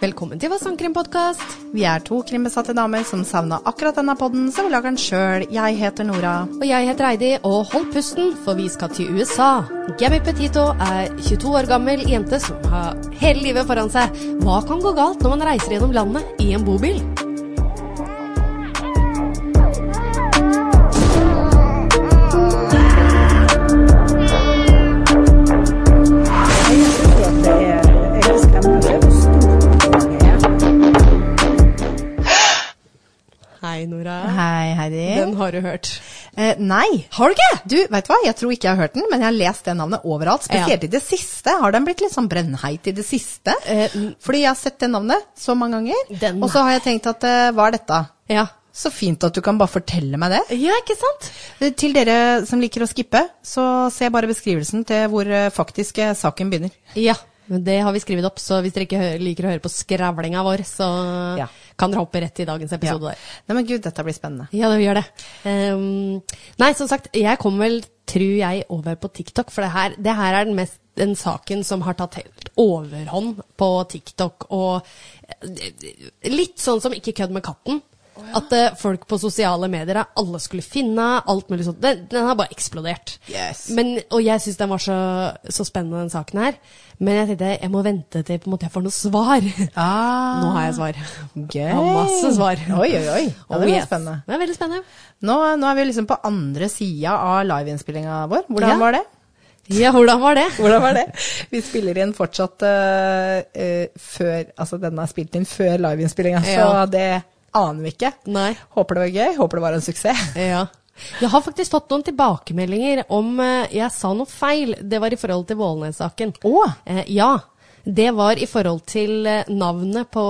Velkommen til Hva sangkrimpodkast. Vi er to krimbesatte damer som savna akkurat denne podden, så vi lager den sjøl. Jeg heter Nora. Og jeg heter Eidi, og hold pusten, for vi skal til USA. Gabby Petito er 22 år gammel jente som har hele livet foran seg. Hva kan gå galt når man reiser gjennom landet i en bobil? Hei, Nora. Hei, Heidi. Den har du hørt. Eh, nei. Har du ikke? Du, vet du hva? Jeg tror ikke jeg har hørt den, men jeg har lest det navnet overalt. Spesielt i det siste. Har den blitt litt sånn brennheit i det siste? Eh, n- Fordi jeg har sett det navnet så mange ganger. Den- Og så har jeg tenkt at eh, hva er dette? Ja. Så fint at du kan bare fortelle meg det. Ja, ikke sant? Eh, Til dere som liker å skippe, så se bare beskrivelsen til hvor eh, faktisk eh, saken begynner. Ja. men Det har vi skrevet opp, så hvis dere ikke hø- liker å høre på skravlinga vår, så Ja. kan dere hoppe rett til dagens episode der. Nei, men gud, dette blir spennende. Ja, det gjør det. Ehm, nei, som sagt, jeg kom vel, tror jeg, over på TikTok, for det her, det her er den mest den saken som har tatt helt overhånd på TikTok, og eh, litt sånn som Ikke kødd med katten. At eh, folk på sosiale medier er alle skulle finne, alt mulig sånt. Den, den har bare eksplodert. Yes. Men, og jeg syns den var så, så spennende, den saken her. Men jeg tenkte jeg må vente til på en måte jeg får noe svar. Ah. Nå har jeg svar. Gøy. Jeg har masse svar. Oi, oi, oi. Ja, det Oh, blir yes. spennende. Det er veldig spennende. Nå, nå er vi liksom på andre sida av liveinnspillinga vår. Hvordan Ja. var det? Ja, hvordan var det? Hvordan var det? Vi spiller inn fortsatt eh, eh, før Altså, den er spilt inn før liveinnspillinga, Ja. så det aner vi ikke. Nei. Håper det var gøy. Håper det var en suksess. Ja. Jeg har faktisk fått noen tilbakemeldinger om eh, jeg sa noe feil. Det var i forhold til Vålnes-saken. Å. Eh, ja. Det var i forhold til eh, navnet på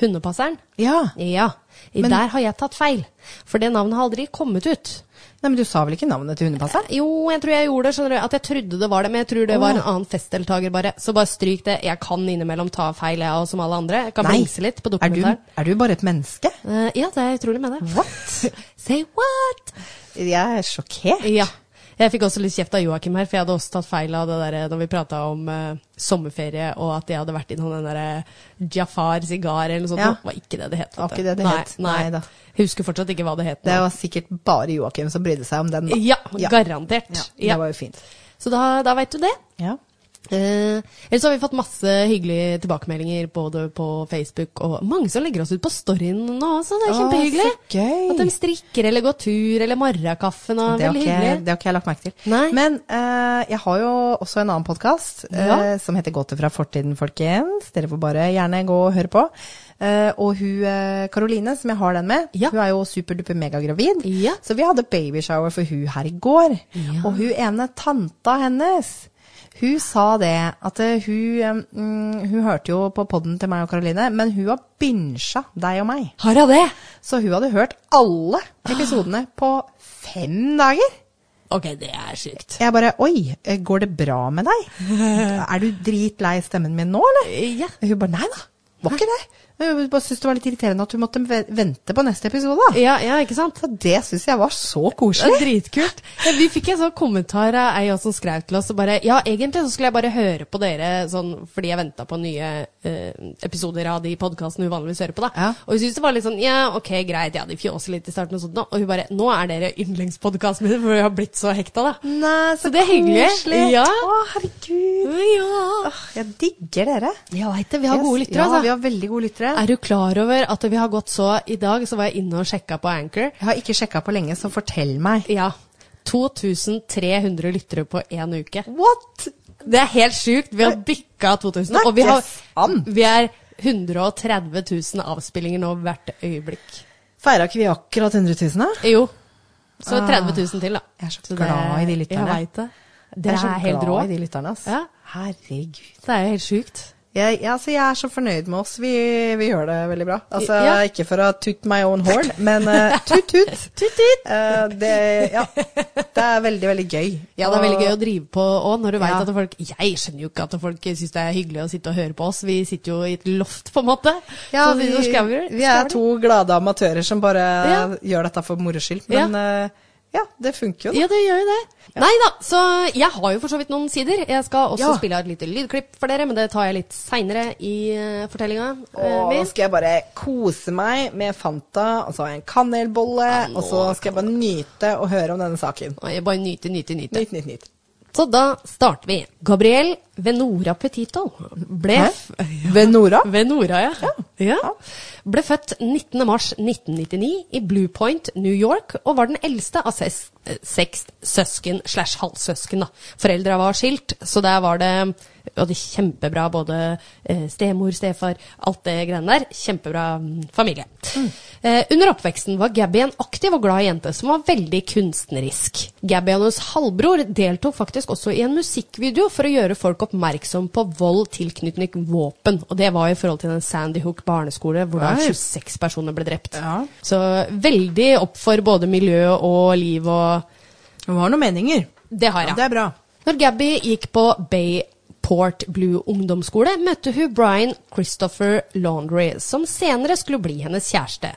hundepasseren. Ja. Ja. I Men- der har jeg tatt feil. For det navnet har aldri kommet ut. Nei, men du sa vel ikke navnet til hundepasseren? Jo, jeg tror jeg gjorde det, skjønner du. At jeg trodde det var det, men jeg tror det var Åh. en annen festdeltaker, bare. Så bare stryk det. Jeg kan innimellom ta feil, jeg òg, som alle andre. Jeg kan blingse litt på er du, dokumentaren. er du bare et menneske? Eh, ja, det er utrolig med det. What? Say what? Jeg er sjokkert. Ja. Jeg fikk også litt kjeft av Joakim her, for jeg hadde også tatt feil av det der da vi prata om eh, sommerferie, og at jeg hadde vært innom den derre Jafar sigar eller noe sånt. Ja. Det var ikke det det het. vet Var du. ikke det det nei, het. Nei. Nei da. Husker fortsatt ikke hva det het. Det nå. var sikkert bare Joakim som brydde seg om den. da. Ja, garantert. Ja, Ja. Det var jo fint. Så da, da veit du det. Ja. Eh, ellers har vi fått masse hyggelige tilbakemeldinger både på Facebook og mange som legger oss ut på storyen nå også. Det er Å, kjempehyggelig. så gøy. At de strikker eller går tur eller morgenkaffen. og Det har, Ah, Veldig ikke, hyggelig. det har ikke jeg lagt merke til. Nei. Men eh, jeg har jo også en annen podkast Ja. som heter Gåter fra fortiden, folkens. Dere får bare gjerne gå og høre på. Eh, og hun eh, Karoline, som jeg har den med, Ja. hun er jo superduper megagravid. Ja. Så vi hadde babyshower for hun her i går. Ja. Og hun ene tanta hennes hun sa det, at eh, hun, mm, hun hørte jo på podden til meg og Karoline, men hun har binsja deg og meg. Har jeg det? Så hun hadde hørt alle episodene på fem dager. Ok, det er sykt. Jeg bare Oi, eh, går det bra med deg? Er du dritlei stemmen min nå, eller? Ja. Hun bare Nei da, var ikke det. Hun bare syntes det var litt irriterende at hun måtte ve- vente på neste episode. da. Ja, ja, ikke sant? Så det syns jeg var så Det er koselig. dritkult. Ja, vi fikk en sånn kommentar av ei også som skrev til oss og bare Ja, egentlig så skulle jeg bare høre på dere sånn fordi jeg venta på nye eh, episoder av de podkastene hun vanligvis hører på, da. Ja. Og hun syntes det var litt sånn Ja, ok, greit, ja, de fjåser litt i starten og sånt, nå. og hun bare Nå er dere yndlingspodkasten min, for jeg har blitt så hekta, da. Nei, Så det er hyggelig. Ja. Å, herregud. Ja, Åh, Jeg digger dere. jeg veit det. Vi har gode Yes. lyttere, Ja, vi altså. har veldig gode lyttere. Er du klar over at vi har gått så I dag så var jeg inne og sjekka på Anchor. Jeg har ikke sjekka på lenge, så fortell meg. Ja. 2300 lyttere på én uke. What? Det er helt sjukt. Vi har bikka 2000. Nei, Og vi, har, sant. vi er 130 000 avspillinger nå hvert øyeblikk. Feira ikke vi akkurat 100 000, da? Jo. Så 30 000 til, da. Ah. Jeg er så glad i de lytterne. Jeg vet det. Jeg Dere så er, helt rå. glad i de lytterne, ass. Ja. Herregud. Det er jo helt sjukt. Jeg, jeg- altså, jeg er så fornøyd med oss. Vi, vi gjør det veldig bra. Altså, Ja. Ikke for å toot my own horn, men eh, tut, tut. Tut, tut. Eh, det, ja. det er veldig, veldig gøy. Ja, det er veldig gøy å Og- drive på òg, når du veit Ja. at folk Jeg skjønner jo ikke at folk syns det er hyggelig å sitte og høre på oss. Vi sitter jo i et loft, på en måte. Ja, Så vi, nå skal vi- vi skal er vi- to glade amatører som bare Ja. gjør dette for moro skyld. Men eh, Ja, det funker jo. da. Ja, det gjør jo det. Nei da, så jeg har jo for så vidt noen sider. Jeg skal også Ja. spille av et lite lydklipp for dere, men det tar jeg litt seinere i uh, fortellinga. Og nå skal jeg bare kose meg med Fanta, og så har jeg en kanelbolle, og så skal jeg bare nyte og høre om denne saken. jeg bare nyte, nyte, nyte. Nytt, nytt, nytt. Så da starter vi. Gabriel Venora Petito ble f- Ved Nora? Venora, ja. ja. Ble født 19. mars 1999 i Blue Point, New York, og var den eldste av ses, eh, seks søsken slash halvsøsken. da. Foreldra var skilt, så der var det og det er kjempebra, både eh, stemor, stefar, alt det greiene der. Kjempebra mm, familie. Eh, under oppveksten var Gabby en aktiv og glad jente som var veldig kunstnerisk. Gabby og hennes halvbror deltok faktisk også i en musikkvideo for å gjøre folk oppmerksom på vold tilknyttet våpen. Og det var i forhold til den Sandy Hook barneskole hvor da Nei. 26 personer ble drept. Ja. Så veldig opp for både miljø og liv og Hun har noen meninger. Det har Ja, jeg. det er bra. Når Gabby gikk på Bayport Blue ungdomsskole, møtte hun Brian Christopher Laundrie, som senere skulle bli hennes kjæreste.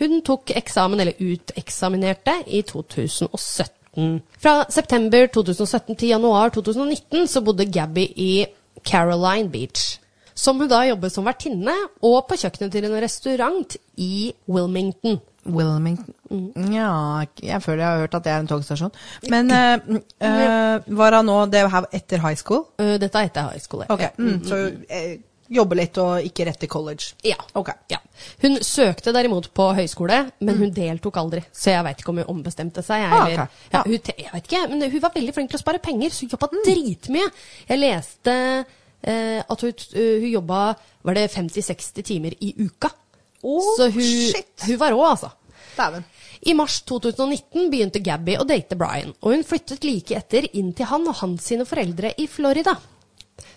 Hun tok eksamen, eller uteksaminerte, i 2017. Fra september 2017 til januar 2019 så bodde Gabby i Caroline Beach, som hun da jobbet som vertinne og på kjøkkenet til en restaurant i Wilmington. Wilmington Ja, jeg føler jeg har hørt at det er en togstasjon. Men eh, eh, var hun nå det her etter high school? Øh, Dette er etter high school. Ok, mm, Så eh, jobbe litt og ikke rett til college. Ja. Ok. Mm. ja. Hun søkte derimot på høyskole, men hun deltok aldri. Så jeg veit ikke om hun ombestemte seg. Jeg, Ah, eller, ok. ja, Ja. Mm. hun, te- jeg vet ikke, men hun var veldig flink til å spare penger, så hun jobba dritmye. Jeg leste eh, at hun, t- hun jobba var det 50-60 timer i uka. Å, så hun, shit. hun var rå, altså. Dæven. I mars 2019 begynte Gabby å date Brian, og hun flyttet like etter inn til han og hans sine foreldre i Florida.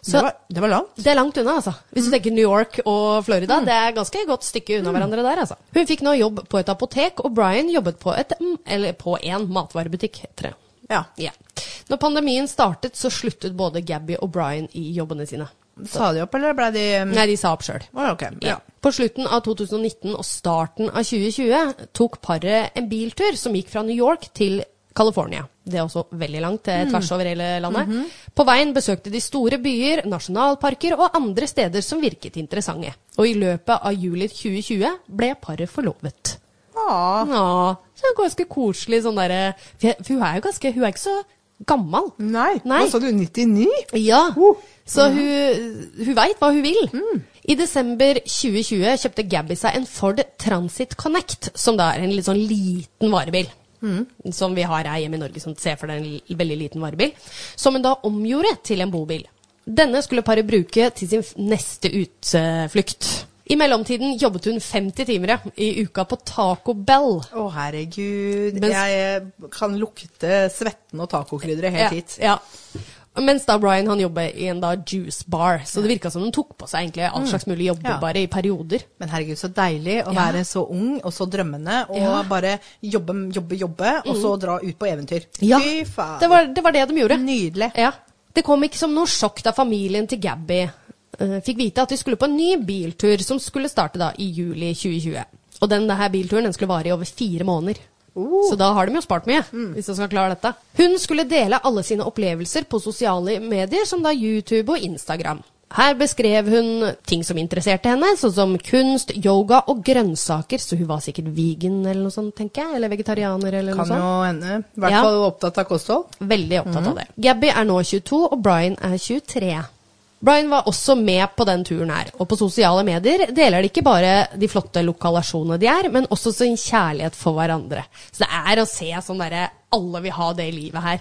Så Det var, det var langt. det er langt unna, altså. Hvis du tenker New York og Florida, det er ganske godt stykke unna hverandre der, altså. Hun fikk nå jobb på et apotek, og Brian jobbet på et mm, Eller på en matvarebutikk, heter det. Ja. Ja. Når pandemien startet, så sluttet både Gabby og Brian i jobbene sine. Sa de opp, eller ble de Nei, de sa opp sjøl. Å, Ok, ja. På slutten av 2019 og starten av 2020 tok paret en biltur som gikk fra New York til California. Det er også veldig langt, det Mm. er tvers over hele landet. Mhm. På veien besøkte de store byer, nasjonalparker og andre steder som virket interessante. Og i løpet av juli 2020 ble paret forlovet. Ah, Ja, så det er ganske koselig sånn derre For jeg- for hun er jo ganske Hun er ikke så gammel. nei. Nei. Hva sa du, 99? Ja, Uh. så hun, hun veit hva hun vil. I desember 2020 kjøpte Gabby seg en Ford Transit Connect, som da er en litt sånn liten varebil. Som vi har her hjemme i Norge, som ser for deg en l- veldig liten varebil. Som hun da omgjorde til en bobil. Denne skulle paret bruke til sin f- neste utflukt. I mellomtiden jobbet hun 50 timer ja, i uka på Taco Bell. Å, herregud. Mens- Jeg eh, kan lukte svetten og tacokrydder helt ja, hit. Ja. Mens da Brian han jobber i en da juice bar, så det virka som de tok på seg egentlig all slags mulig jobber Mm. Ja. bare i perioder. Men herregud, så deilig å Ja. være så ung og så drømmende, og Ja. Mm. bare jobbe, jobbe, jobbe, og så dra ut på eventyr. Fy faen. Det, var, det var det de gjorde. Nydelig. Ja. Det kom ikke som noe sjokk da familien til Gabby eh, fikk vite at de skulle på en ny biltur som skulle starte da i juli 2020. Og den her bilturen den skulle vare i over fire måneder. Uh. Så da har de jo spart mye, Mm. hvis de skal klare dette. Hun skulle dele alle sine opplevelser på sosiale medier, som da YouTube og Instagram. Her beskrev hun ting som interesserte henne, sånn som kunst, yoga og grønnsaker. Så hun var sikkert vegan eller noe sånt, tenker jeg. Eller vegetarianer eller noe Kan sånt. jo hende. I hvert Ja. fall opptatt av kosthold. Veldig opptatt av det. Gabby er nå 22, og Brian er 23. Brian var også med på den turen her, og på sosiale medier deler de ikke bare de flotte lokalasjonene de er, men også sin kjærlighet for hverandre. Så det er å se sånn derre Alle vil ha det livet her.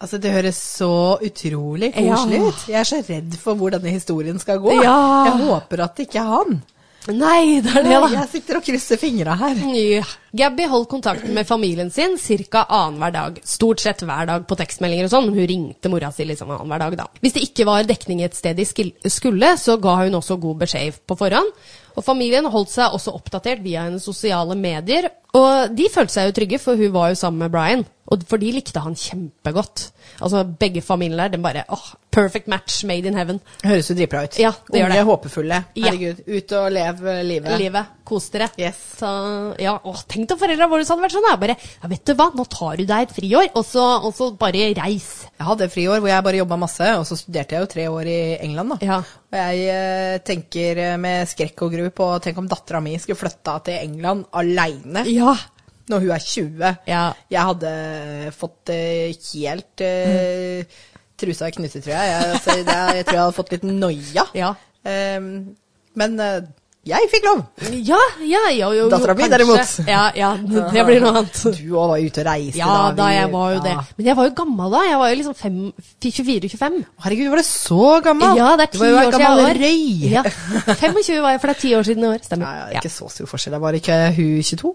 Altså, det høres så utrolig Ja. koselig ut. Jeg er så redd for hvor denne historien skal gå. Ja. Jeg håper at det ikke er han. Nei, det er det, da! Jeg sitter og krysser fingra her. Ja. Gabby holdt kontakten med familien sin ca. annenhver dag. Stort sett hver dag på tekstmeldinger og sånn. Hun ringte mora si liksom annenhver dag, da. Hvis det ikke var dekning et sted de skil- skulle, så ga hun også god beskjed på forhånd. Og familien holdt seg også oppdatert via hennes sosiale medier. Og de følte seg jo trygge, for hun var jo sammen med Brian. Og for de likte han kjempegodt. Altså begge familiene der, den bare åh, perfect match made in heaven. Høres jo dritbra ut. Ja, det gjør Unge, det. håpefulle. Ja. Herregud. Ut og lev eh, livet. Livet. Kos dere. Yes. Så, ja, å, tenk deg foreldra våre hadde vært sånn. Da. Bare, ja, vet du hva, nå tar du deg et friår, og så, og så bare reis. Jeg hadde friår hvor jeg bare jobba masse, og så studerte jeg jo tre år i England, da. Ja. Og jeg eh, tenker med skrekk og gru på Tenk om dattera mi skulle flytta til England aleine Ja. når hun er 20. Ja. Jeg hadde fått eh, helt eh, trusa i knuter, tror jeg. Jeg, altså, det, jeg tror jeg hadde fått litt noia. Ja. Ehm, men eh, jeg fikk lov! Ja, ja, jo, jo, jo. Dattera mi, kanskje. derimot. Ja, ja, det blir noe annet. Du òg var ute og reiste Ja, da vi- jeg var jo det. Ja. Men jeg var jo gammel da. Jeg var jo liksom fem- 24-25. Herregud, var du så gammel? Ja, det er ti du var jo år en siden jeg gammel var. røy. Ja. 25 var jeg, for det er ti år siden i år. Stemmer. Nei, Ja. ikke så stor forskjell. Jeg var ikke hun 22.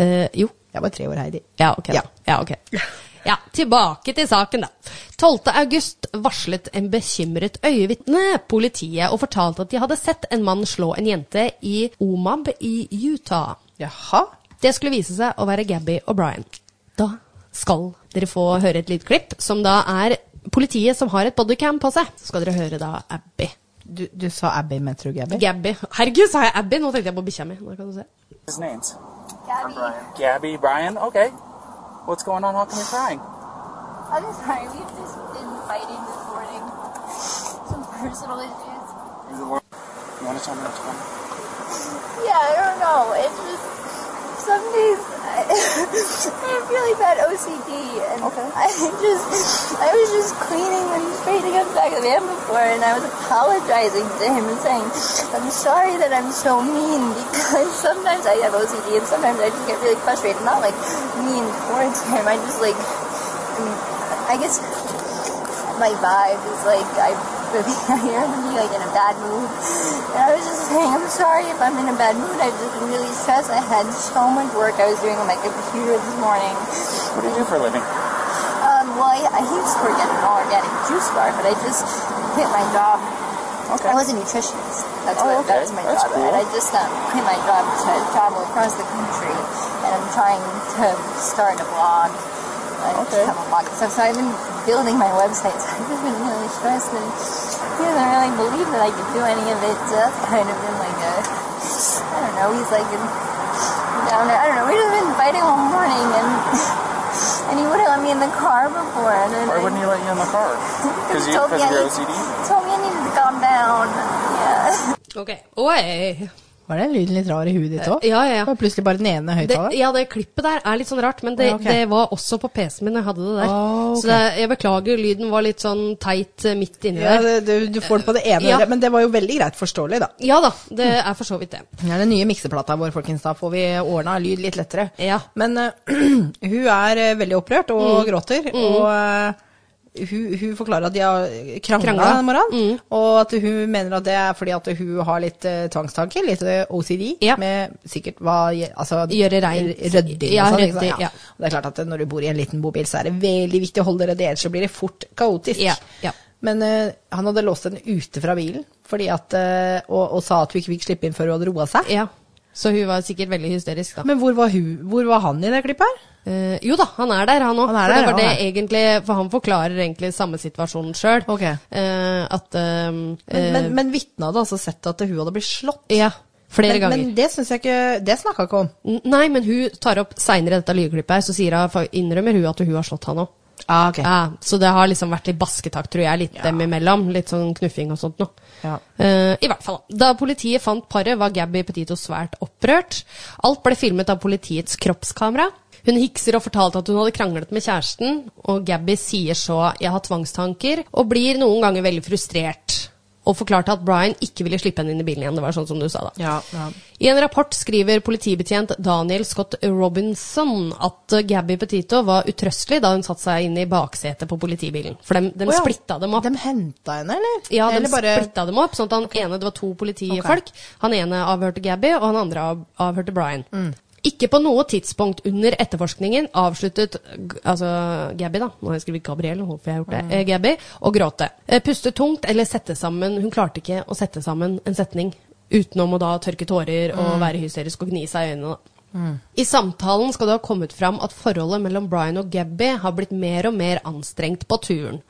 Eh, jo. Jeg var tre år, Heidi. Ja, ok. da. Ja. Ja, ok. Ja, tilbake til saken, da. 12. august varslet en bekymret øyevitne politiet og fortalte at de hadde sett en mann slå en jente i Omab i Utah. Jaha. Det skulle vise seg å være Gabby O'Brien. Da skal dere få høre et lydklipp, som da er politiet som har et bodycam på seg. Så skal dere høre da Abby. Du, du sa Abby, men tror du Abby? Gabby. Herregud, sa jeg Abby? Nå tenkte jeg på bikkja mi. Der kan du se. His names? Gabby. Brian. Gabby, Brian. Okay. What's going on? How come you're crying? I'm sorry, we've just been fighting this morning. Some personal issues. You want to tell me what's going on? Yeah, I don't know. It's just some days I, I have really bad OCD, and I just I was just cleaning and straightening up the back of the van before, and I was apologizing to him and saying I'm sorry that I'm so mean because sometimes I have OCD and sometimes I just get really frustrated. I'm not like mean towards him. I just like I guess my vibe is like I really I am like in a bad mood. And I was just saying, I'm sorry if I'm in a bad mood. I've just been really stressed. I had so much work I was doing on my computer this morning. What do you do for a living? Um, well, I, I used to work at an organic juice bar, but I just quit my job. Okay. I was a nutritionist. That's Oh, what okay. that was my That's job. cool. And I just um, quit my job to travel across the country, and I'm trying to start a blog. I Okay. have a blog and stuff. So I've been building my website. So I've just been really stressed, and he doesn't really believe that I could do any of it. So that's kind of been like a, I don't know. He's like a downer. I don't know. We've just been fighting all morning, and and he wouldn't let me in the car before. And then Why I- wouldn't he let you in the car? Because you, told me because of I your need- OCD. Told me I needed to calm down. Yeah. Ok. Oi. Var den lyden litt rar i huet ditt òg? Eh, Ja, ja, ja. Det var plutselig bare den ene Det, høyttaleren. ja, det klippet der er litt sånn rart, men det, Ja, ok. det var også på PC-en min når jeg hadde det der. Ah, ok. Så det, jeg beklager, lyden var litt sånn teit eh, midt inni Ja, der. det, du, du får den på det ene Ja. øret, men det var jo veldig greit forståelig, da. Ja da, det er for så vidt det. Det er den nye mikseplata vår, folkens. Da får vi ordna lyd litt lettere. Ja. Mm. Men eh, hun er eh, veldig opprørt og gråter. Og eh, hun, hun forklarer at de har krangla Kranglet. Mm. den morgenen. Og at hun mener at det er fordi at hun har litt eh, tvangstanker, litt eh, OCD, Ja. med sikkert hva je- altså, Gjøre reint. Rydding Ja, og sånn. ikke sant? rydding, ja. Og det er klart at når du bor i en liten bobil, så er det veldig viktig å holde dere der, så blir det fort kaotisk. Ja, ja. Men eh, han hadde låst henne ute fra bilen fordi at, eh, og, og sa at hun ikke fikk slippe inn før hun hadde roa seg. Ja. Så hun var sikkert veldig hysterisk, da. Men hvor var, hun, hvor var han i det klippet her? Eh, jo da, han er der, han òg. Han er For, det der, var han det egentlig, for han forklarer egentlig samme situasjonen sjøl. Ok. at ehm, Men, eh, men, men vitnet hadde altså sett at hun hadde blitt slått. Ja, flere men, ganger. Men det synes jeg ikke Det snakka ikke om. N- Nei, men hun tar opp seinere dette lydklippet, her, så sier hun, for innrømmer hun at hun har slått han òg. Ah, ok. Ja, så det har liksom vært litt basketak, tror jeg, litt Ja. dem imellom. Litt sånn knuffing og sånt noe. Ja. Eh, I hvert fall. Da politiet fant paret, var Gabby Petito svært opprørt. Alt ble filmet av politiets kroppskamera. Hun hikser og fortalte at hun hadde kranglet med kjæresten, og Gabby sier så 'jeg har tvangstanker', og blir noen ganger veldig frustrert. Og forklarte at Brian ikke ville slippe henne inn i bilen igjen. Det var sånn som du sa, da. Ja, ja. I en rapport skriver politibetjent Daniel Scott Robinson at eh, Gabby Petito var utrøstelig da hun satte seg inn i baksetet på politibilen. For de, Å ja. splitta dem opp. De henta henne, eller? ja, de eller bare splitta dem opp, sånn at han ene, det var to politifolk. Han ene avhørte Gabby, og han andre av, avhørte Brian. Mm. Ikke på noe tidspunkt under etterforskningen avsluttet g- altså Gabby, da, nå har jeg skrevet Gabrielle, håper jeg har gjort Mm. det, eh, Gabby, å gråte. Eh, Puste tungt eller sette sammen, hun klarte ikke å sette sammen en setning utenom å da tørke tårer og være hysterisk og gni seg i øynene. da. I samtalen skal det ha kommet fram at forholdet mellom Brian og Gabby har blitt mer og mer anstrengt på turen.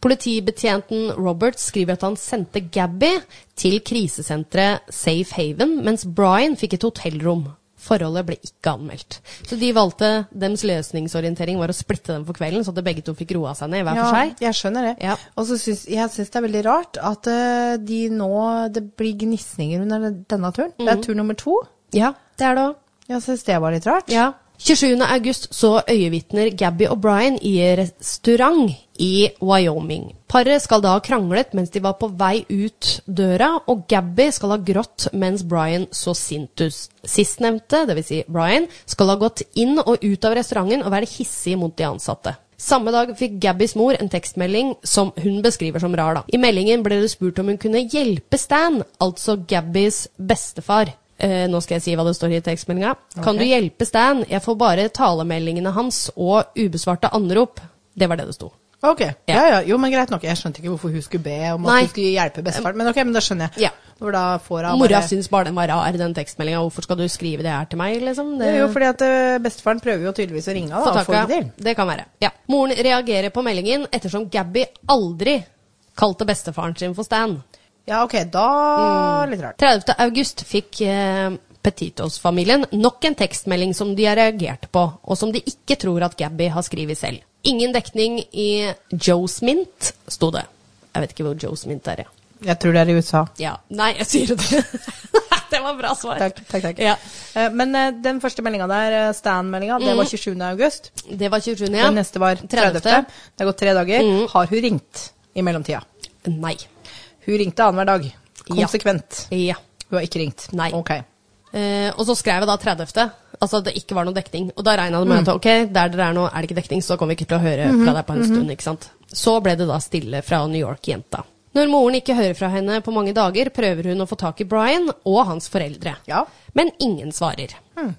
Politibetjenten Roberts skriver at han sendte Gabby til krisesenteret Safe Haven, mens Brian fikk et hotellrom. Forholdet ble ikke anmeldt. Så de valgte deres løsningsorientering var å splitte dem for kvelden, så at begge to fikk roa seg ned hver for seg. Jeg skjønner det. Ja. Og så syns jeg syns det er veldig rart at eh, de nå Det blir gnisninger under denne turen. Det Mhm. er tur nummer to. Ja, det er det òg. Jeg syns det var litt rart. Ja. 27. august så øyevitner Gabby og Brian i restaurant i Wyoming. Paret skal da ha kranglet mens de var på vei ut døra, og Gabby skal ha grått mens Brian så sint ut. Sistnevnte, dvs. Si Brian, skal ha gått inn og ut av restauranten og være hissig mot de ansatte. Samme dag fikk Gabbys mor en tekstmelding som hun beskriver som rar. da. I meldingen ble det spurt om hun kunne hjelpe Stan, altså Gabbys bestefar. Eh, nå skal jeg si hva det står i tekstmeldinga. Kan du hjelpe Stan? Jeg får bare talemeldingene hans og ubesvarte anrop. Det var det det sto. Ok, Ja. ja. ja, Jo, men greit nok. Jeg skjønte ikke hvorfor hun skulle be om at Nei. hun skulle hjelpe bestefaren. Men ok, men det skjønner jeg. Ja. Hvor da får hun Mora bare- syns bare den var rar, den tekstmeldinga. Hvorfor skal du skrive det her til meg, liksom? Det Det... er jo fordi at eh, bestefaren prøver jo tydeligvis å ringe henne, da. Får Takk, ikke ja. til. Det kan være. Ja. Moren reagerer på meldingen ettersom Gabby aldri kalte bestefaren sin for Stan. Ja, ok, Mm. da Litt rart. 30. august fikk eh, Petitos-familien nok en tekstmelding som de har reagert på, og som de ikke tror at Gabby har skrevet selv. Ingen dekning i Joe's Mint, sto det. Jeg vet ikke hvor Joe's Mint er, ja. Jeg tror det er i USA. ja. Nei, jeg sier det. Nei, det var bra svar. Takk, takk, takk. Ja. Eh, Men eh, den første meldinga der, eh, Stan-meldinga, det var 27. august. Det var 27. Mm. Ja. Mm. Den neste var 30. Det har gått tre dager. Har hun ringt i mellomtida? Nei. Hun ringte annenhver dag. Ja. Konsekvent. Ja. Hun har ikke ringt. Nei. Ok. Eh, og så skrev jeg da 30. Altså at det ikke var noe dekning. Og da regna det med at ok, der dere er nå er det ikke dekning, så kommer vi ikke til å høre fra deg på en stund. ikke sant? Så ble det da stille fra New York-jenta. Når moren ikke hører fra henne på mange dager, prøver hun å få tak i Brian og hans foreldre. Ja. Men ingen svarer.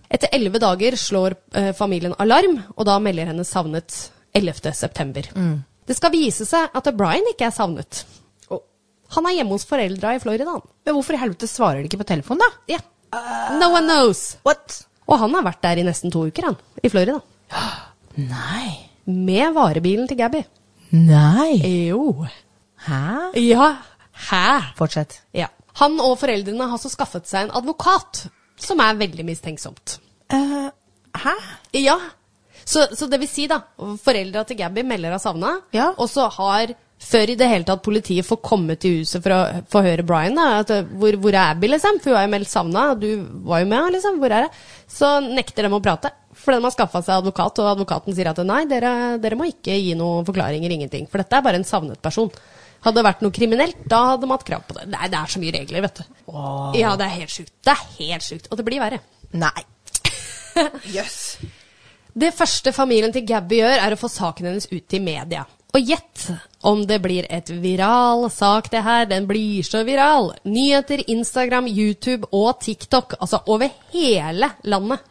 Etter elleve dager slår eh, familien alarm, og da melder henne savnet 11. september. Det skal vise seg at Brian ikke er savnet. Og, Han er hjemme hos foreldra i Florida. han. men hvorfor i helvete svarer de ikke på telefonen, Ja. da? No one knows. What? Og han har vært der i nesten to uker, han, i Florida. Nei. Med varebilen til Gabby. Nei. Jo. Hæ? Ja. Hæ? Fortsett. Ja. Han og foreldrene har så skaffet seg en advokat, som er veldig mistenksomt. Eh, hæ? Ja. Så, så det vil si, da, foreldra til Gabby melder av savna, Ja. og så har før i det hele tatt politiet får komme til huset for å få høre Brian, da, at eh, hvor, hvor er Abby, liksom? For hun er jo meldt savna, og du var jo med, liksom. Hvor er det? Så nekter de å prate. For de har skaffa seg advokat, og advokaten sier at nei, dere, dere må ikke gi noen forklaringer, ingenting. For dette er bare en savnet person. Hadde det vært noe kriminelt, da hadde de hatt krav på det. Nei, det er så mye regler, vet du. Ja, det er helt sjukt. Det er helt sjukt. Og det blir verre. Nei. Jøss. Yes. Det første familien til Gabby gjør, er å få saken hennes ut i media. Og gjett om det blir et viral sak, det her. Den blir så viral. Nyheter, Instagram, YouTube og TikTok. Altså over hele landet.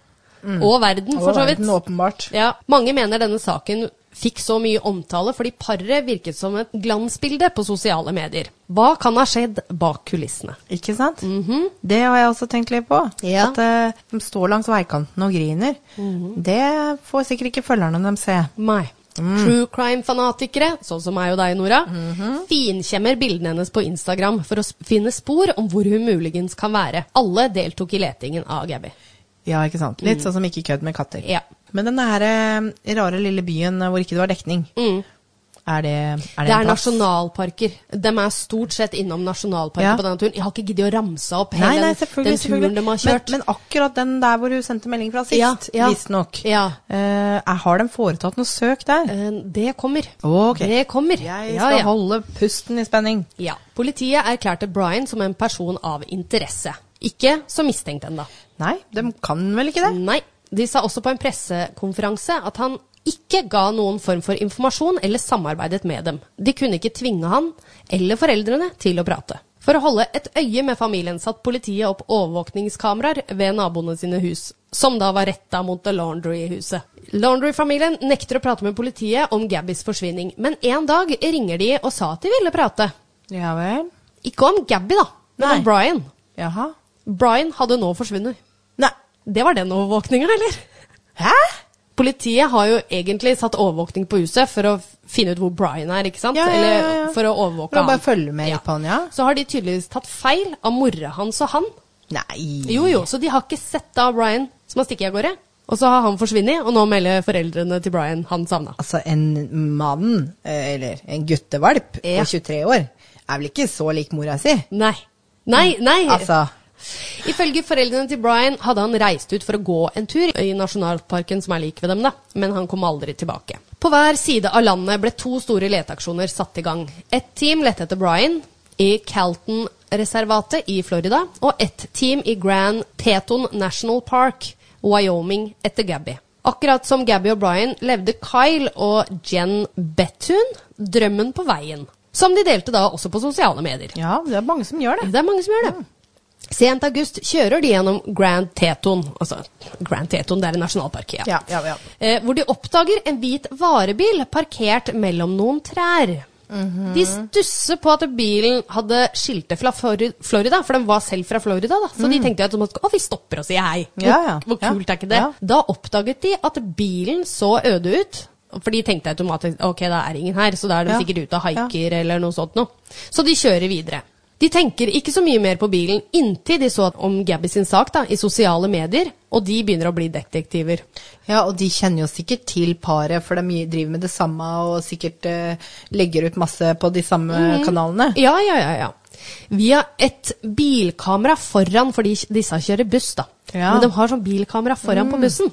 Og verden, for så vidt. verden, åpenbart. Ja, Mange mener denne saken fikk så mye omtale fordi paret virket som et glansbilde på sosiale medier. Hva kan ha skjedd bak kulissene? Ikke sant? Det har jeg også tenkt litt på. Ja. At eh, de står langs veikanten og griner. Mhm. Det får sikkert ikke følgerne dem se. Nei. Mm. True crime-fanatikere, sånn som meg og deg, Nora, Mhm. finkjemmer bildene hennes på Instagram for å s- finne spor om hvor hun muligens kan være. Alle deltok i letingen av Gabby. Ja, ikke sant? Litt sånn som ikke kødd med katter. Ja. Men denne her eh, rare lille byen eh, hvor ikke det var dekning, er det, er Mm. det, Det er en plass? nasjonalparker. De er stort sett innom nasjonalparker Ja, på denne turen. Jeg har ikke giddet å ramse opp hele Nei, nei, den, selvfølgelig. den turen de har selvfølgelig. kjørt. Men, men akkurat den der hvor hun sendte melding fra sist, Ja, ja. visstnok. Ja. Eh, er- har de foretatt noe søk der? Eh, det kommer. Ok. Det kommer. Jeg Ja, skal ja. holde pusten i spenning. Ja. Politiet erklærte Brian som en person av interesse. Ikke som mistenkt ennå. Nei, de kan vel ikke det? Nei. De sa også på en pressekonferanse at han ikke ga noen form for informasjon eller samarbeidet med dem. De kunne ikke tvinge han eller foreldrene til å prate. For å holde et øye med familien satt politiet opp overvåkningskameraer ved naboene sine hus, som da var retta mot The Laundry-huset. Laundry-familien nekter å prate med politiet om Gabbys forsvinning, men en dag ringer de og sa at de ville prate. Ja vel. Ikke om Gabby, da, men Nei. om Brian. Jaha. Brian hadde nå forsvunnet. Nei. Det var den overvåkninga, eller? Hæ? Politiet har jo egentlig satt overvåkning på huset for å finne ut hvor Brian er, ikke sant? Ja, ja, ja, ja. Eller for å overvåke For å bare følge med litt på han, ja. Så har de tydeligvis tatt feil av mora hans og han. Nei. Jo, jo, så de har ikke sett da Brian som har stikket av gårde. Og så har han forsvunnet, og nå melder foreldrene til Brian han savna. Altså, en mann, eh, eller en guttevalp Ja. på 23 år, er vel ikke så lik mora si? Nei. Nei, nei. Altså, Ifølge foreldrene til Brian hadde han reist ut for å gå en tur i nasjonalparken som er lik ved dem, da, men han kom aldri tilbake. På hver side av landet ble to store leteaksjoner satt i gang. Ett team lette etter Brian i Calton-reservatet i Florida, og ett team i Grand Teton National Park, Wyoming, etter Gabby. Akkurat som Gabby og Brian levde Kyle og Jen Bethune drømmen på veien, som de delte da også på sosiale medier. ja, det er mange som gjør det. Det er mange som gjør det. Sent august kjører de gjennom Grand Teton. Altså, Grand Teton, det er en nasjonalpark. Ja. Ja, ja, ja. Eh, hvor de oppdager en hvit varebil parkert mellom noen trær. Mhm. De stusser på at bilen hadde skiltet fra Flori- Florida, for den var selv fra Florida. da. Så de tenkte at å, vi stopper og sier hei. Hvor, Mm. Ja, ja. hvor Ja. kult er ikke det? Ja. Da oppdaget de at bilen så øde ut. For de tenkte automatisk ok, det er ingen her, så da er de Ja. sikkert ute og haiker eller noe sånt noe. Så de kjører videre. De tenker ikke så mye mer på bilen inntil de så om Gabby sin sak da, i sosiale medier, og de begynner å bli detektiver. Ja, og de kjenner jo sikkert til paret, for de driver med det samme og sikkert eh, legger ut masse på de samme kanalene. Ja, ja, ja, ja. Via et bilkamera foran, fordi disse kjører buss, da. Ja. Men de har sånn bilkamera foran på bussen.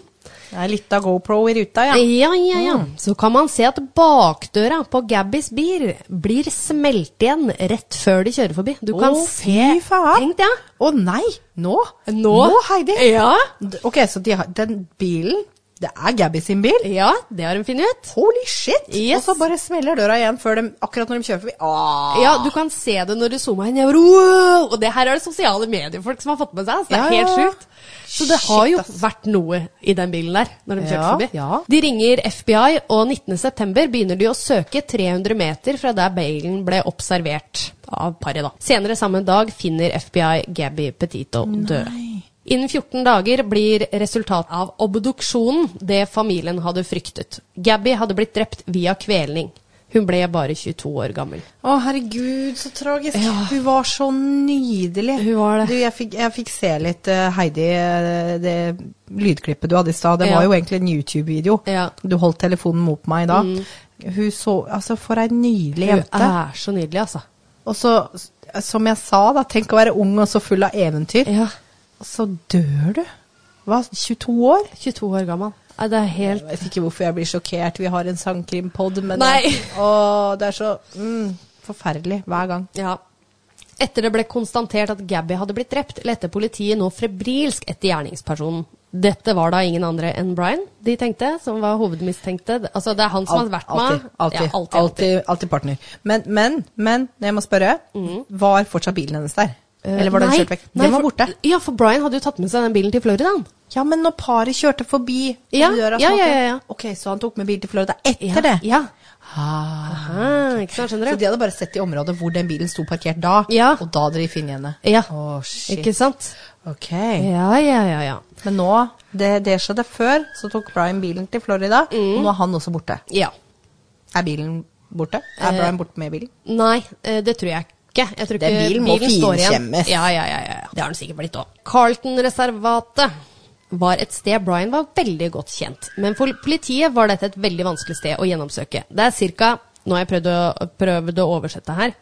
Det er litt av GoPro i ruta, ja. Mm. Ja, ja, ja. Så kan man se at bakdøra på Gabbys bil blir smelt igjen rett før de kjører forbi. Du kan Å, se fy faen. Tenk det. Å nei, nå? Nå, Heidi? Ja. D- Ok, så de har, den bilen, det er Gabby sin bil? ja, det har de funnet ut. Holy shit! Yes. Og så bare smeller døra igjen før de, akkurat når de kjører forbi. Åh. Ja, du kan se det når du zoomer inn. Jeg bare, Wow! Og det her er det sosiale mediefolk som har fått med seg. Så det er Ja, ja, helt ja. sjukt. Så det har Shit, jo ass. vært noe i den bilen der når de kjørte Ja, forbi. ja. De ringer FBI, og 19.9 begynner de å søke 300 meter fra der bilen ble observert av paret. da. Senere samme dag finner FBI Gabby Petito død. Innen 14 dager blir resultatet av obduksjonen det familien hadde fryktet. Gabby hadde blitt drept via kvelning. Hun ble bare 22 år gammel. Å, herregud, så tragisk. Ja. Hun var så nydelig. Hun var det. Du, jeg fikk, jeg fikk se litt eh, Heidi, eh, det lydklippet du hadde i stad. Det Ja. var jo egentlig en YouTube-video. Ja. Mm. Du holdt telefonen mot meg da. Hun så Altså, for ei nydelig Hun jente. er så nydelig, altså. Og så, som jeg sa, da, tenk å være ung og så full av eventyr. Ja, Og så dør du. Hva, 22 år? 22 år gammel. Nei, det er helt Jeg vet ikke hvorfor jeg blir sjokkert. Vi har en sangkrimpod, men Nei. Å, det er så mm, forferdelig hver gang. Ja. Etter det ble konstatert at Gabby hadde blitt drept, lette politiet nå febrilsk etter gjerningspersonen. Dette var da ingen andre enn Brian, de tenkte, som var hovedmistenkte. Altså, det er han som Alt- har vært med. Alltid. Alltid, Ja, alltid, alltid, partner. Men, men, men, jeg må spørre, var fortsatt bilen hennes der? Eller var den Eh, Nei, kjørt vekk? nei, Den var for- borte. Ja, for Brian hadde jo tatt med seg den bilen til Florida. han. Ja, men når paret kjørte forbi Ja, døra ja, så- ja, ja, ja. Ok, så han tok med bil til Florida etter Ja, det? Ja. Ah. Ah, ikke sant, skjønner Så du? de hadde bare sett i området hvor den bilen sto parkert da, Ja. og da hadde de funnet henne? Ja. Å, shit. Ikke sant? Ok. Ja, ja, ja, ja. Men nå, det, det skjedde før, så tok Brian bilen til Florida, og nå er han også borte. Ja. Er bilen borte? Er Brian borte med bilen? Nei, eh, det tror jeg ikke. Jeg tror Den ikke bilen må står igjen. finkjemmes. Ja, ja, ja, ja. ja. Det har den sikkert blitt òg. Carlton-reservatet var et sted Brian var veldig godt kjent. Men for politiet var dette et veldig vanskelig sted å gjennomsøke. Det er ca. Nå har jeg prøvd å, prøvd å oversette her.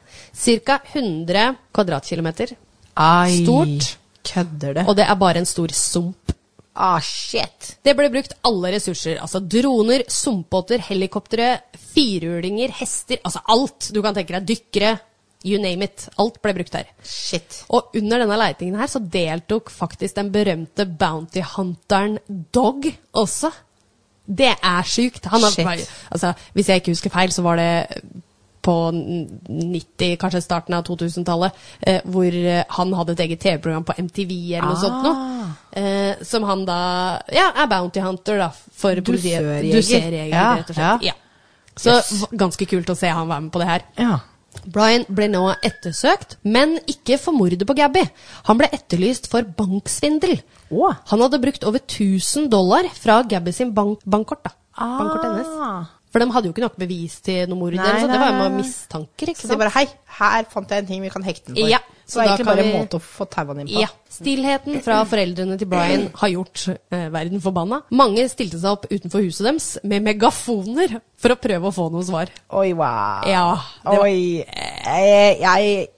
Ca. 100 kvadratkilometer. Ai, Stort. Kødder det? Og det er bare en stor sump. Ah, shit. Det ble brukt alle ressurser. Altså droner, sumpbåter, helikoptre, firehjulinger, hester. Altså alt du kan tenke deg. Dykkere. You name it. Alt ble brukt her. Shit. Og under denne leitingen her så deltok faktisk den berømte bounty hunteren Dog også. Det er sjukt. Han har, Shit. altså, hvis jeg ikke husker feil, så var det på n- 90, kanskje starten av 2000-tallet, eh, hvor eh, han hadde et eget TV-program på MTV eller noe sånt noe. Ah. Eh, som han da Ja, er bounty hunter, da. For politiet. Dusørjeger. Dusørjeger, Ja, rett og slett. ja. Ja. Så v- ganske kult å se han være med på det her. Ja. Brian ble nå ettersøkt, men ikke for mordet på Gabby. Han ble etterlyst for banksvindel. Åh. Han hadde brukt over 1000 dollar fra Gabby sin bank bankkort. da. Ah. Bankkort hennes. For de hadde jo ikke nok bevis til noe mord. Nei, eller noe sånt. Det nei, var jo nei, med nei. mistanker. ikke Så de sant? bare Hei, her fant jeg en ting vi kan hekte den for. Ja, så, det er så da egentlig kan bare en vi- måte å få tauene inn på. Ja. Stillheten fra foreldrene til Brian har gjort eh, verden forbanna. Mange stilte seg opp utenfor huset deres med megafoner for å prøve å få noe svar. Oi, wow. Ja, det var- Oi. Jeg, jeg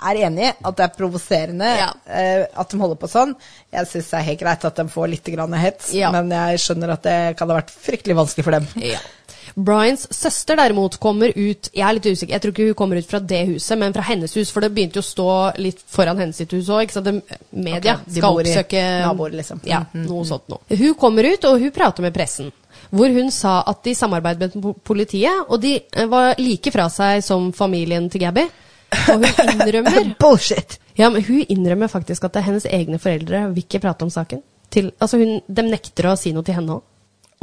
er enig i at det er provoserende Ja. eh, at de holder på sånn. Jeg syns det er helt greit at de får litt grann hets, Ja. men jeg skjønner at det kan ha vært fryktelig vanskelig for dem. Ja. Brians søster derimot kommer ut Jeg er litt usikker, jeg tror ikke hun kommer ut fra det huset, men fra hennes hus, for det begynte jo å stå litt foran hennes sitt hus òg. Media Ok, de skal bor i oppsøke naboer, liksom. Ja, noe sånt noe. Hun kommer ut, og hun prater med pressen. Hvor hun sa at de samarbeidet med po- politiet, og de eh, var like fra seg som familien til Gabby. Og hun innrømmer Bullshit! ja, men hun innrømmer faktisk at det er hennes egne foreldre vil ikke prate om saken. Til, altså hun, de nekter å si noe til henne òg.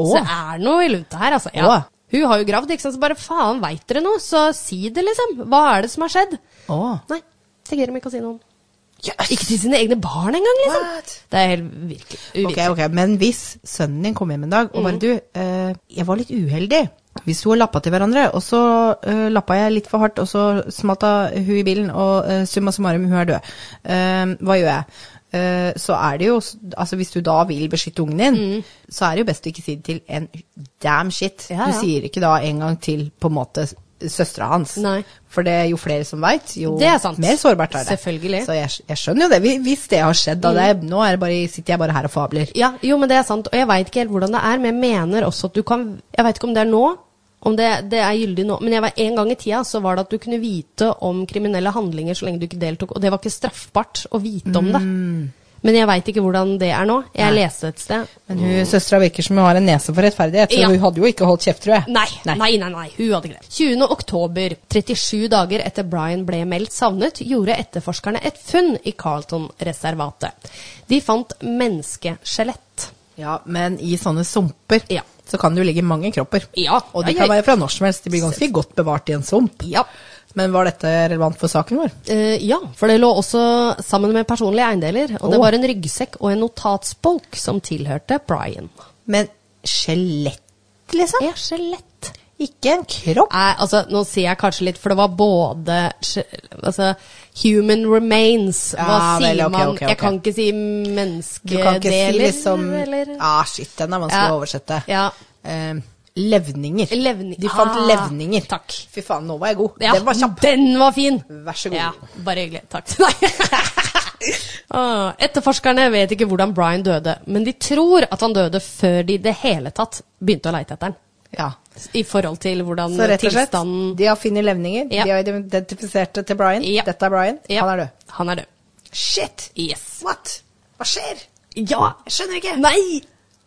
Åh. Så det er noe i lunta her, altså. Ja. Åh. Hun har jo gravd, ikke sant. Så bare faen, veit dere noe? Så si det, liksom. Hva er det som har skjedd? Åh. Nei, tenker de ikke å si noe om. Ikke til sine egne barn engang, liksom. What? Det er helt virkelig Ok, uvirkelig. ok, Men hvis sønnen din kom hjem en dag og Mm. bare Du, eh, jeg var litt uheldig. Vi sto og lappa til hverandre, og så eh, lappa jeg litt for hardt, og så smalt av hun i bilen, og eh, summa summarum, hun er død. Eh, hva gjør jeg? Eh, så er det jo Altså, hvis du da vil beskytte ungen din, Mm. så er det jo best å ikke si det til en damn shit. Ja, ja. Du sier ikke da en gang til på en måte søstera hans. Nei. For det er jo flere som veit, jo Det er sant. mer sårbart er det. Selvfølgelig. Mm. Så jeg, jeg skjønner jo det. Hvis- Hvis det har skjedd, da. Det, er- nå er det bare, sitter jeg bare her og fabler. Ja, jo, men det er sant. Og jeg veit ikke helt hvordan det er, men jeg mener også at du kan Jeg veit ikke om det er nå, om det, det er gyldig nå, men jeg var, en gang i tida så var det at du kunne vite om kriminelle handlinger så lenge du ikke deltok, og det var ikke straffbart å vite om det. Mm. Men jeg veit ikke hvordan det er nå. Jeg leste et sted. Men hun søstera virker som hun har en nese for rettferdighet, så Ja. hun hadde jo ikke holdt kjeft, tror jeg. Nei, nei, nei, nei, hun hadde ikke det. 20. oktober, 37 dager etter Brian ble meldt savnet, gjorde etterforskerne et funn i Carlton-reservatet. De fant menneskeskjelett. Ja, men i sånne sumper Ja. så kan det jo ligge mange kropper. Ja. Og de Ja, kan ja, ja. være fra når som helst. De blir ganske godt bevart i en sump. Ja. Men var dette relevant for saken vår? Eh, ja, for det lå også sammen med personlige eiendeler. Og det Åh. var en ryggsekk og en notatsbolk som tilhørte Brian. Men skjelett, liksom? Ja, skjelett. Ikke en kropp? Nei, altså, nå sier jeg kanskje litt, for det var både skje- altså, human remains. Hva Ja, sier vel, ok, man? ok, ok. Jeg kan ikke si Du kan ikke si menneskedeler, liksom eller Ah, shit, den er vanskelig Ja. å oversette. Ja. Eh, levninger. Levni- De fant Ah, levninger. takk. Fy faen, nå var jeg god. Ja, Den var kjapp. Den var fin! Vær så god. Ja, bare hyggelig. Takk. Nei. Ah, Etterforskerne vet ikke hvordan Brian døde, men de tror at han døde før de i det hele tatt begynte å leite etter han. Ja. I forhold til hvordan Så rett og slett, tilstanden de har funnet levninger. Ja. De har identifisert det til Brian. Ja. Dette er Brian. Ja. Han er død. Han er død. Shit! Yes. What? Hva skjer? Ja! Jeg skjønner ikke. Nei!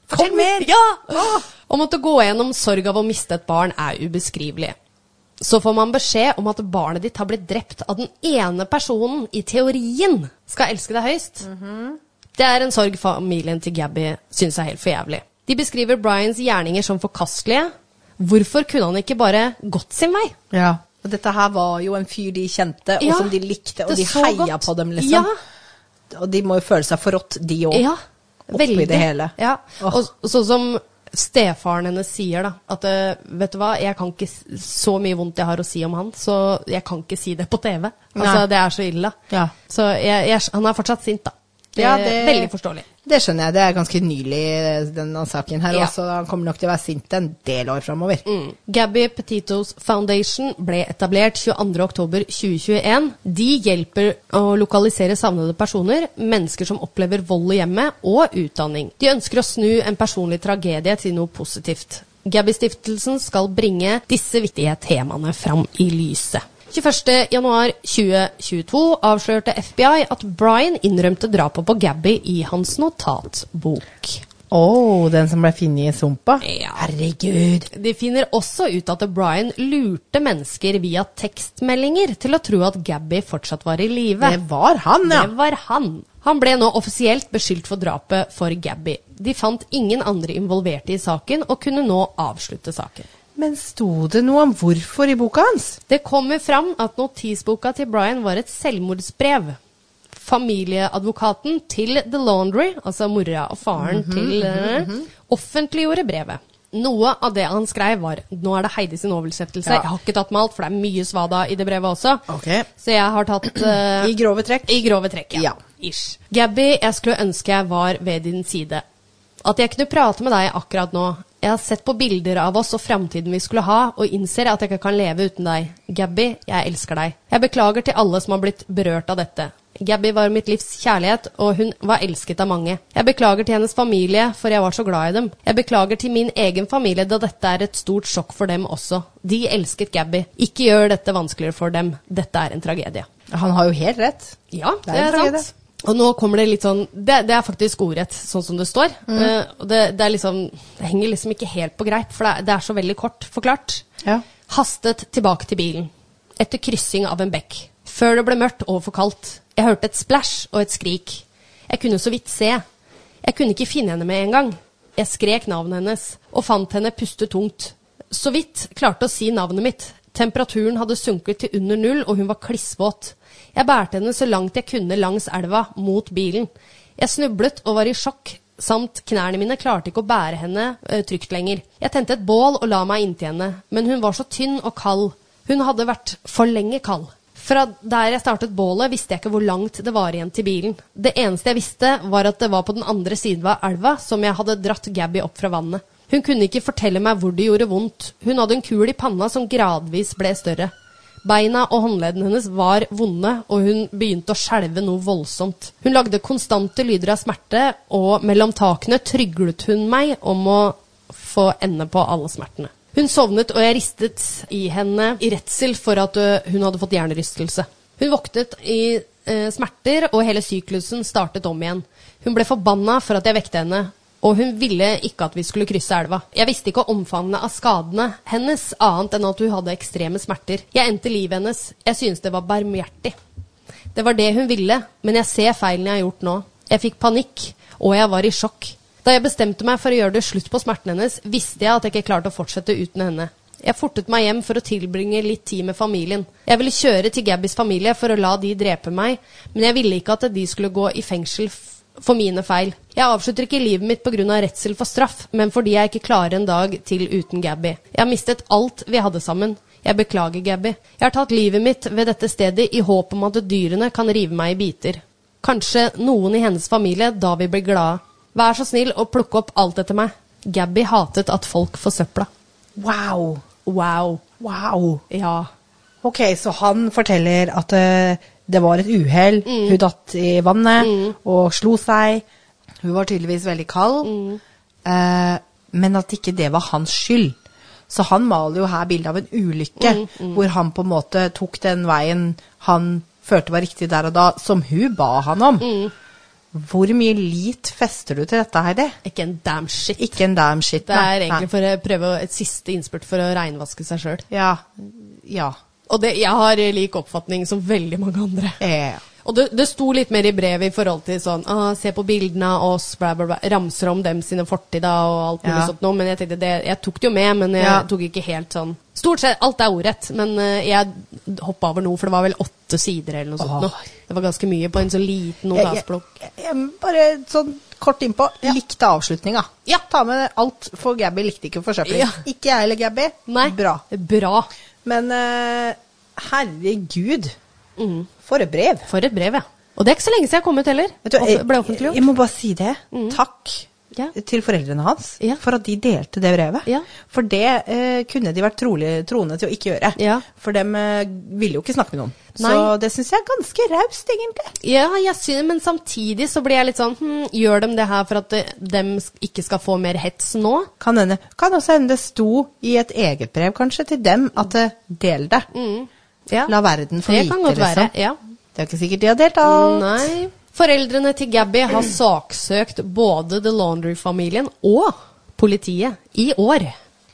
Fortell mer! Ah. Ja! Åh! Å måtte gå gjennom sorg av å miste et barn er ubeskrivelig. Så får man beskjed om at barnet ditt har blitt drept av den ene personen i teorien skal elske deg høyst. Mhm. Det er en sorg familien til Gabby syns er helt for jævlig. De beskriver Bryans gjerninger som forkastelige. Hvorfor kunne han ikke bare gått sin vei? Ja. Og dette her var jo en fyr de kjente, Ja, og som de likte, og det de så heia godt. på dem, liksom. Ja. Og de må jo føle seg forrådt, de òg. Ja, Oppi veldig. det hele. Ja. Åh. Og s- sånn som stefaren hennes sier, da. At eh, vet du hva, jeg kan ikke s- så mye vondt jeg har å si om han, så jeg kan ikke si det på TV. Altså, Nei. det er så ille. Ja. Så jeg, jeg, han er fortsatt sint, da. Det, Ja, er det- Veldig forståelig. Det skjønner jeg. Det er ganske nylig, denne saken her Ja. også. Han kommer nok til å være sint en del år framover. Mm. Gabby Petitos Foundation ble etablert 22.10.2021. De hjelper å lokalisere savnede personer, mennesker som opplever vold i hjemmet, og utdanning. De ønsker å snu en personlig tragedie til noe positivt. Gabby-stiftelsen skal bringe disse viktige temaene fram i lyset. 21.1.2022 avslørte FBI at Brian innrømte drapet på Gabby i hans notatbok. Å, den som ble funnet i sumpa? Ja. Herregud. De finner også ut at Brian lurte mennesker via tekstmeldinger til å tro at Gabby fortsatt var i live. Det var han, ja. Det var han. Han ble nå offisielt beskyldt for drapet for Gabby. De fant ingen andre involverte i saken og kunne nå avslutte saken. Men sto det noe om hvorfor i boka hans? Det kommer fram at notisboka til Brian var et selvmordsbrev. Familieadvokaten til The Laundry, altså mora og faren Mhm, til eh, offentliggjorde brevet. Noe av det han skrev var Nå er det Heidi sin oversettelse. Ja. Jeg har ikke tatt med alt, for det er mye svada i det brevet også. Ok. Så jeg har tatt eh, I grove trekk. I grove trekk, ja. Ja. Ish. Gabby, jeg skulle ønske jeg var ved din side. At jeg kunne prate med deg akkurat nå. Jeg har sett på bilder av oss og framtiden vi skulle ha, og innser at jeg ikke kan leve uten deg. Gabby, jeg elsker deg. Jeg beklager til alle som har blitt berørt av dette. Gabby var mitt livs kjærlighet, og hun var elsket av mange. Jeg beklager til hennes familie, for jeg var så glad i dem. Jeg beklager til min egen familie, da dette er et stort sjokk for dem også. De elsket Gabby. Ikke gjør dette vanskeligere for dem. Dette er en tragedie. Han har jo helt rett. Ja, Det det er er, en tragedie. sant. Og nå kommer det litt sånn Det, det er faktisk ordrett, sånn som det står. Eh, og det, det er liksom Det henger liksom ikke helt på greip, for det er, det er så veldig kort forklart. Ja. Hastet tilbake til bilen. Etter kryssing av en bekk. Før det ble mørkt og for kaldt. Jeg hørte et splæsj og et skrik. Jeg kunne så vidt se. Jeg kunne ikke finne henne med en gang. Jeg skrek navnet hennes, og fant henne puste tungt. Så vidt klarte å si navnet mitt. Temperaturen hadde sunket til under null, og hun var klissvåt. Jeg bærte henne så langt jeg kunne langs elva, mot bilen. Jeg snublet og var i sjokk, samt knærne mine klarte ikke å bære henne eh, trygt lenger. Jeg tente et bål og la meg inntil henne, men hun var så tynn og kald. Hun hadde vært for lenge kald. Fra der jeg startet bålet, visste jeg ikke hvor langt det var igjen til bilen. Det eneste jeg visste, var at det var på den andre siden av elva som jeg hadde dratt Gabby opp fra vannet. Hun kunne ikke fortelle meg hvor det gjorde vondt. Hun hadde en kul i panna som gradvis ble større. Beina og håndleddene hennes var vonde, og hun begynte å skjelve noe voldsomt. Hun lagde konstante lyder av smerte, og mellom takene tryglet hun meg om å få ende på alle smertene. Hun sovnet, og jeg ristet i henne i redsel for at ø, hun hadde fått hjernerystelse. Hun våknet i eh, smerter, og hele syklusen startet om igjen. Hun ble forbanna for at jeg vekte henne, og hun ville ikke at vi skulle krysse elva. Jeg visste ikke omfanget av skadene hennes, annet enn at hun hadde ekstreme smerter. Jeg endte livet hennes. Jeg syntes det var barmhjertig. Det var det hun ville, men jeg ser feilen jeg har gjort nå. Jeg fikk panikk, og jeg var i sjokk. Da jeg bestemte meg for å gjøre det slutt på smerten hennes, visste jeg at jeg ikke klarte å fortsette uten henne. Jeg fortet meg hjem for å tilbringe litt tid med familien. Jeg ville kjøre til Gabbys familie for å la de drepe meg, men jeg ville ikke at de skulle gå i fengsel f- for mine feil. Jeg avslutter ikke livet mitt pga. redsel for straff, men fordi jeg ikke klarer en dag til uten Gabby. Jeg har mistet alt vi hadde sammen. Jeg beklager, Gabby. Jeg har tatt livet mitt ved dette stedet i håp om at dyrene kan rive meg i biter. Kanskje noen i hennes familie da vil bli glade. Vær så snill å plukke opp alt etter meg. Gabby hatet at folk forsøpla. Wow. Wow. Wow. Ja. Ok, så han forteller at eh, det var et uhell. Mm. Hun datt i vannet og slo seg. Hun var tydeligvis veldig kald. Mm. Eh, men at ikke det var hans skyld. Så han maler jo her bildet av en ulykke, Mm, hvor han på en måte tok den veien han følte var riktig der og da, som hun ba han om. Mm. Hvor mye lit fester du til dette, Heidi? Ikke en damn shit. Ikke en damn shit. Det nei, er nei. egentlig for å prøve å- et siste innspurt for å reinvaske seg sjøl. Ja. Ja. Og det, jeg har eh, lik oppfatning som veldig mange andre. Eh. Og det, det sto litt mer i brevet i forhold til sånn ah, Se på bildene av oss, bla, bla, bla. Ramser om dem sine fortida og alt mulig Ja. sånt noe. Men jeg tenkte det, jeg tok det jo med, men jeg Ja. tok ikke helt sånn Stort sett alt er ordrett, men eh, jeg hoppa over noe, for det var vel åtte sider eller noe sånt. Åh. Noe. Det var ganske mye på en så liten Jeg- jeg- notasblokk. jeg- jeg- Bare sånn kort innpå. Likte avslutninga. Ja. Ta med alt, for Gabby likte ikke forsøpling. Ja. Ikke jeg heller, Gabby. Nei. Bra. Bra. Men eh, herregud, Mm. for et brev. For et brev, ja. Og det er ikke så lenge siden jeg kom ut heller. Vet du, Off- jeg, ble jeg, offentliggjort. Mm. jeg må bare si det. Takk. Ja. Til foreldrene hans Ja. for at de delte det brevet. Ja. For det eh, kunne de vært trolig, troende til å ikke gjøre. Ja. For de eh, ville jo ikke snakke med noen. Nei. Så det syns jeg er ganske raust, egentlig. Ja, jeg synes, men samtidig så blir jeg litt sånn hm, Gjør de det her for at eh, dem sk- ikke skal få mer hets nå? Kan, hende, kan også hende det sto i et eget brev kanskje til dem at eh, del det. Ja. La verden få Det vite, kan godt liksom. være, ja. Det er ikke sikkert de har delt alt. Nei. Foreldrene til Gabby har saksøkt både The Laundry-familien og politiet i år.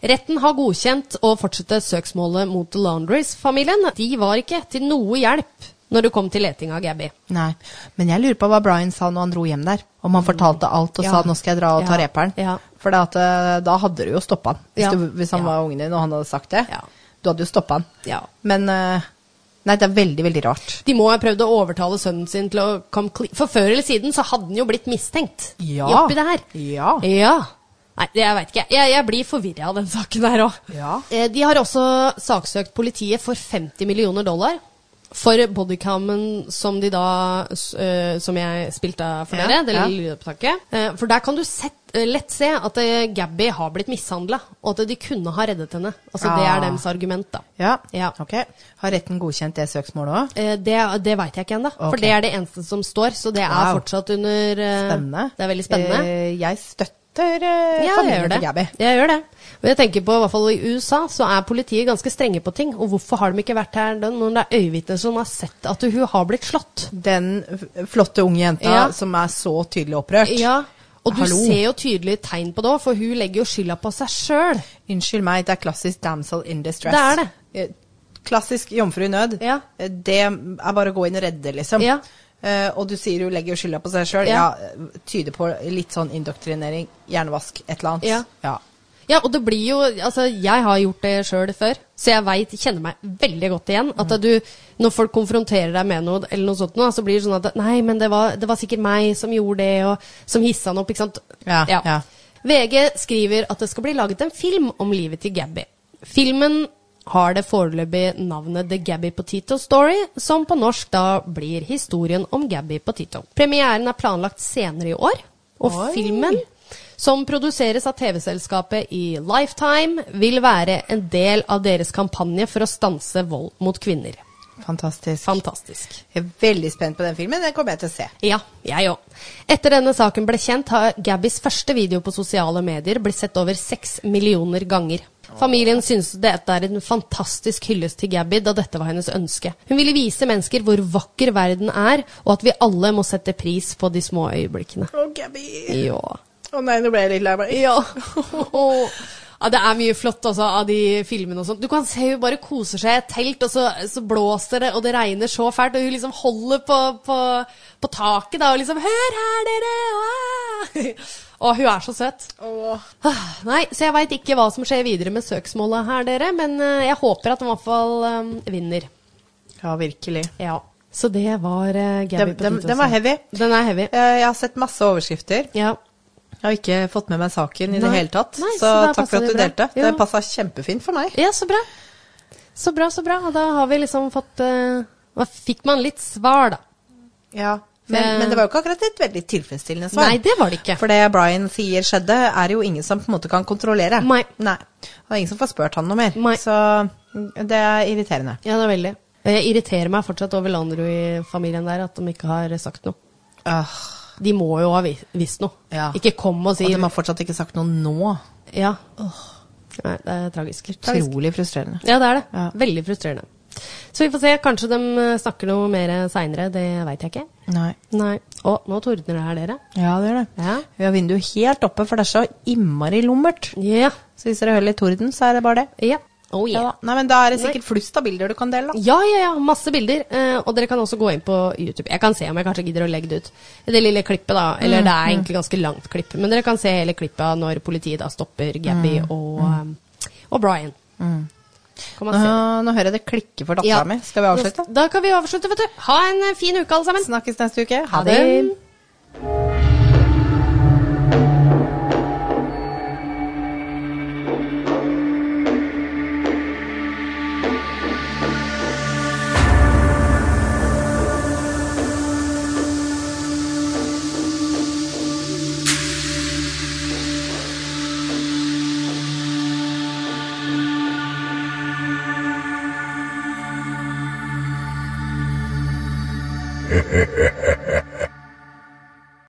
Retten har godkjent å fortsette søksmålet mot The Laundries-familien. De var ikke til noe hjelp når det kom til leting av Gabby. Nei. Men jeg lurer på hva Brian sa når han dro hjem der. Om han fortalte alt og Mm. Ja. sa 'nå skal jeg dra og ta Ja. reperen'. Ja. For det at, eh, da hadde du jo stoppa han. Hvis, Ja. du, hvis han Ja. var ungen din og han hadde sagt det. Ja. Du hadde jo stoppa han. Ja. Men eh, Nei, det er veldig, veldig rart. De må ha prøvd å overtale sønnen sin til å komme clean. For før eller siden så hadde han jo blitt mistenkt. Ja. I Oppi det her. Ja. Ja. Nei, det- jeg veit ikke. Jeg, jeg blir forvirra av den saken her òg. Ja. De har også saksøkt politiet for 50 millioner dollar. For bodycammen som de da s- øh, Som jeg spilte av for Ja, dere, det ja. lille lydopptaket. Eh, For der kan du sett, eh, lett se at eh, Gabby har blitt mishandla, og at de kunne ha reddet henne. Altså Det Ah. er deres argument, da. Ja. Ja. Ok. Har retten godkjent det søksmålet òg? Eh, Det, det veit jeg ikke ennå, Ok. for det er det eneste som står. Så det er Wow. fortsatt under eh, Spennende. Det er veldig spennende. Eh, jeg støtter eh, Ja, jeg gjør familien det. til Gabby. Jeg gjør det. Og jeg tenker på, i hvert fall i USA, så er politiet ganske strenge på ting. Og hvorfor har de ikke vært her da, når det er øyevitner som har sett at hun har blitt slått? Den f- flotte unge jenta Ja. som er så tydelig opprørt. Ja, og du Hallo. ser jo tydelige tegn på det òg, for hun legger jo skylda på seg sjøl. Unnskyld meg, det er klassisk damsel in distress. Det er det. Eh, Klassisk jomfru i nød. Ja. Eh, Det er bare å gå inn og redde, liksom. Ja. Eh, og du sier hun legger jo skylda på seg sjøl. Ja. Ja. tyder på litt sånn indoktrinering, hjernevask, et eller annet. Ja. Ja, og det blir jo Altså, jeg har gjort det sjøl før, så jeg veit, kjenner meg veldig godt igjen. Mm. At du, når folk konfronterer deg med noe eller noe sånt, nå, så blir det sånn at Nei, men det var, det var sikkert meg som gjorde det, og som hissa han opp, ikke sant. Ja, ja. VG skriver at det skal bli laget en film om livet til Gabby. Filmen har det foreløpig navnet The Gabby Potato Story, som på norsk da blir historien om Gabby Potato. Premieren er planlagt senere i år, og Oi. filmen, som produseres av TV-selskapet i Lifetime, vil være en del av deres kampanje for å stanse vold mot kvinner. Fantastisk. Fantastisk. jeg er veldig spent på den filmen. Den kommer jeg til å se. Ja, jeg òg. Etter denne saken ble kjent, har Gabbys første video på sosiale medier blitt sett over seks millioner ganger. Familien synes dette er en fantastisk hyllest til Gabby, da dette var hennes ønske. Hun ville vise mennesker hvor vakker verden er, og at vi alle må sette pris på de små øyeblikkene. Å, Gabby. Ja. Å nei, nå ble jeg litt lei meg. Ja. Åh. ja. Det er mye flott altså, av de filmene og sånn. Du kan se hun bare koser seg i et telt, og så, så blåser det, og det regner så fælt, og hun liksom holder på, på, på taket da, og liksom 'Hør her, dere!' Ah! Og hun er så søt. Åh. Ah, Nei, så jeg veit ikke hva som skjer videre med søksmålet her, dere, men eh, jeg håper at den i hvert fall eh, vinner. Ja, virkelig. Ja. Så det var uh, Gabby Den- den- den var heavy. Den er heavy. Eh, Jeg har sett masse overskrifter. Ja. Jeg har ikke fått med meg saken i det Nei. hele tatt. Nei, så så da takk passer for at det du bra. delte. Ja. Det passa kjempefint for meg. Ja, så bra. Så bra, så bra. Og da har vi liksom fått eh, Da fikk man litt svar, da. Ja. Men, Eh. men det var jo ikke akkurat et veldig tilfredsstillende svar. Nei, det var det ikke. For det Brian sier skjedde, er det jo ingen som på en måte kan kontrollere. Nei. Og ingen som får spurt han noe mer. Nei. Så mm, det er irriterende. Ja, det er veldig. Og Jeg irriterer meg fortsatt over Landry-familien der, at de ikke har sagt noe. Åh, De må jo ha vi- visst noe. Ja. Ikke kom og si og de har fortsatt ikke sagt noe nå. Ja. Nei, det er tragisk. tragisk. Utrolig frustrerende. Ja, det er det. Ja. Veldig frustrerende. Så vi får se. Kanskje de eh, snakker noe mer seinere. Det veit jeg ikke. Nei. Nei. Å, nå tordner det her, dere. Ja, det gjør det. Ja. Vi har vinduet helt oppe, for det er så innmari lummert. Ja. Så hvis dere hører litt torden, så er det bare det. Ja. Oh yeah. Ja, da. Nei, men da er det sikkert flust av bilder du kan dele, da. Ja, ja, ja. Masse bilder. Eh, og dere kan også gå inn på YouTube. Jeg kan se om jeg kanskje gidder å legge det ut. Det lille klippet, da. Eller det er egentlig ganske langt klipp. Men dere kan se hele klippet av når politiet da stopper Gabby og, eh, og Brian. Kan man Nå, se det. nå hører jeg det klikke for dattera Ja. mi. Skal vi avslutte? Da kan vi avslutte, vet du. Ha en eh, fin uke, alle sammen. Snakkes neste uke. Ha det.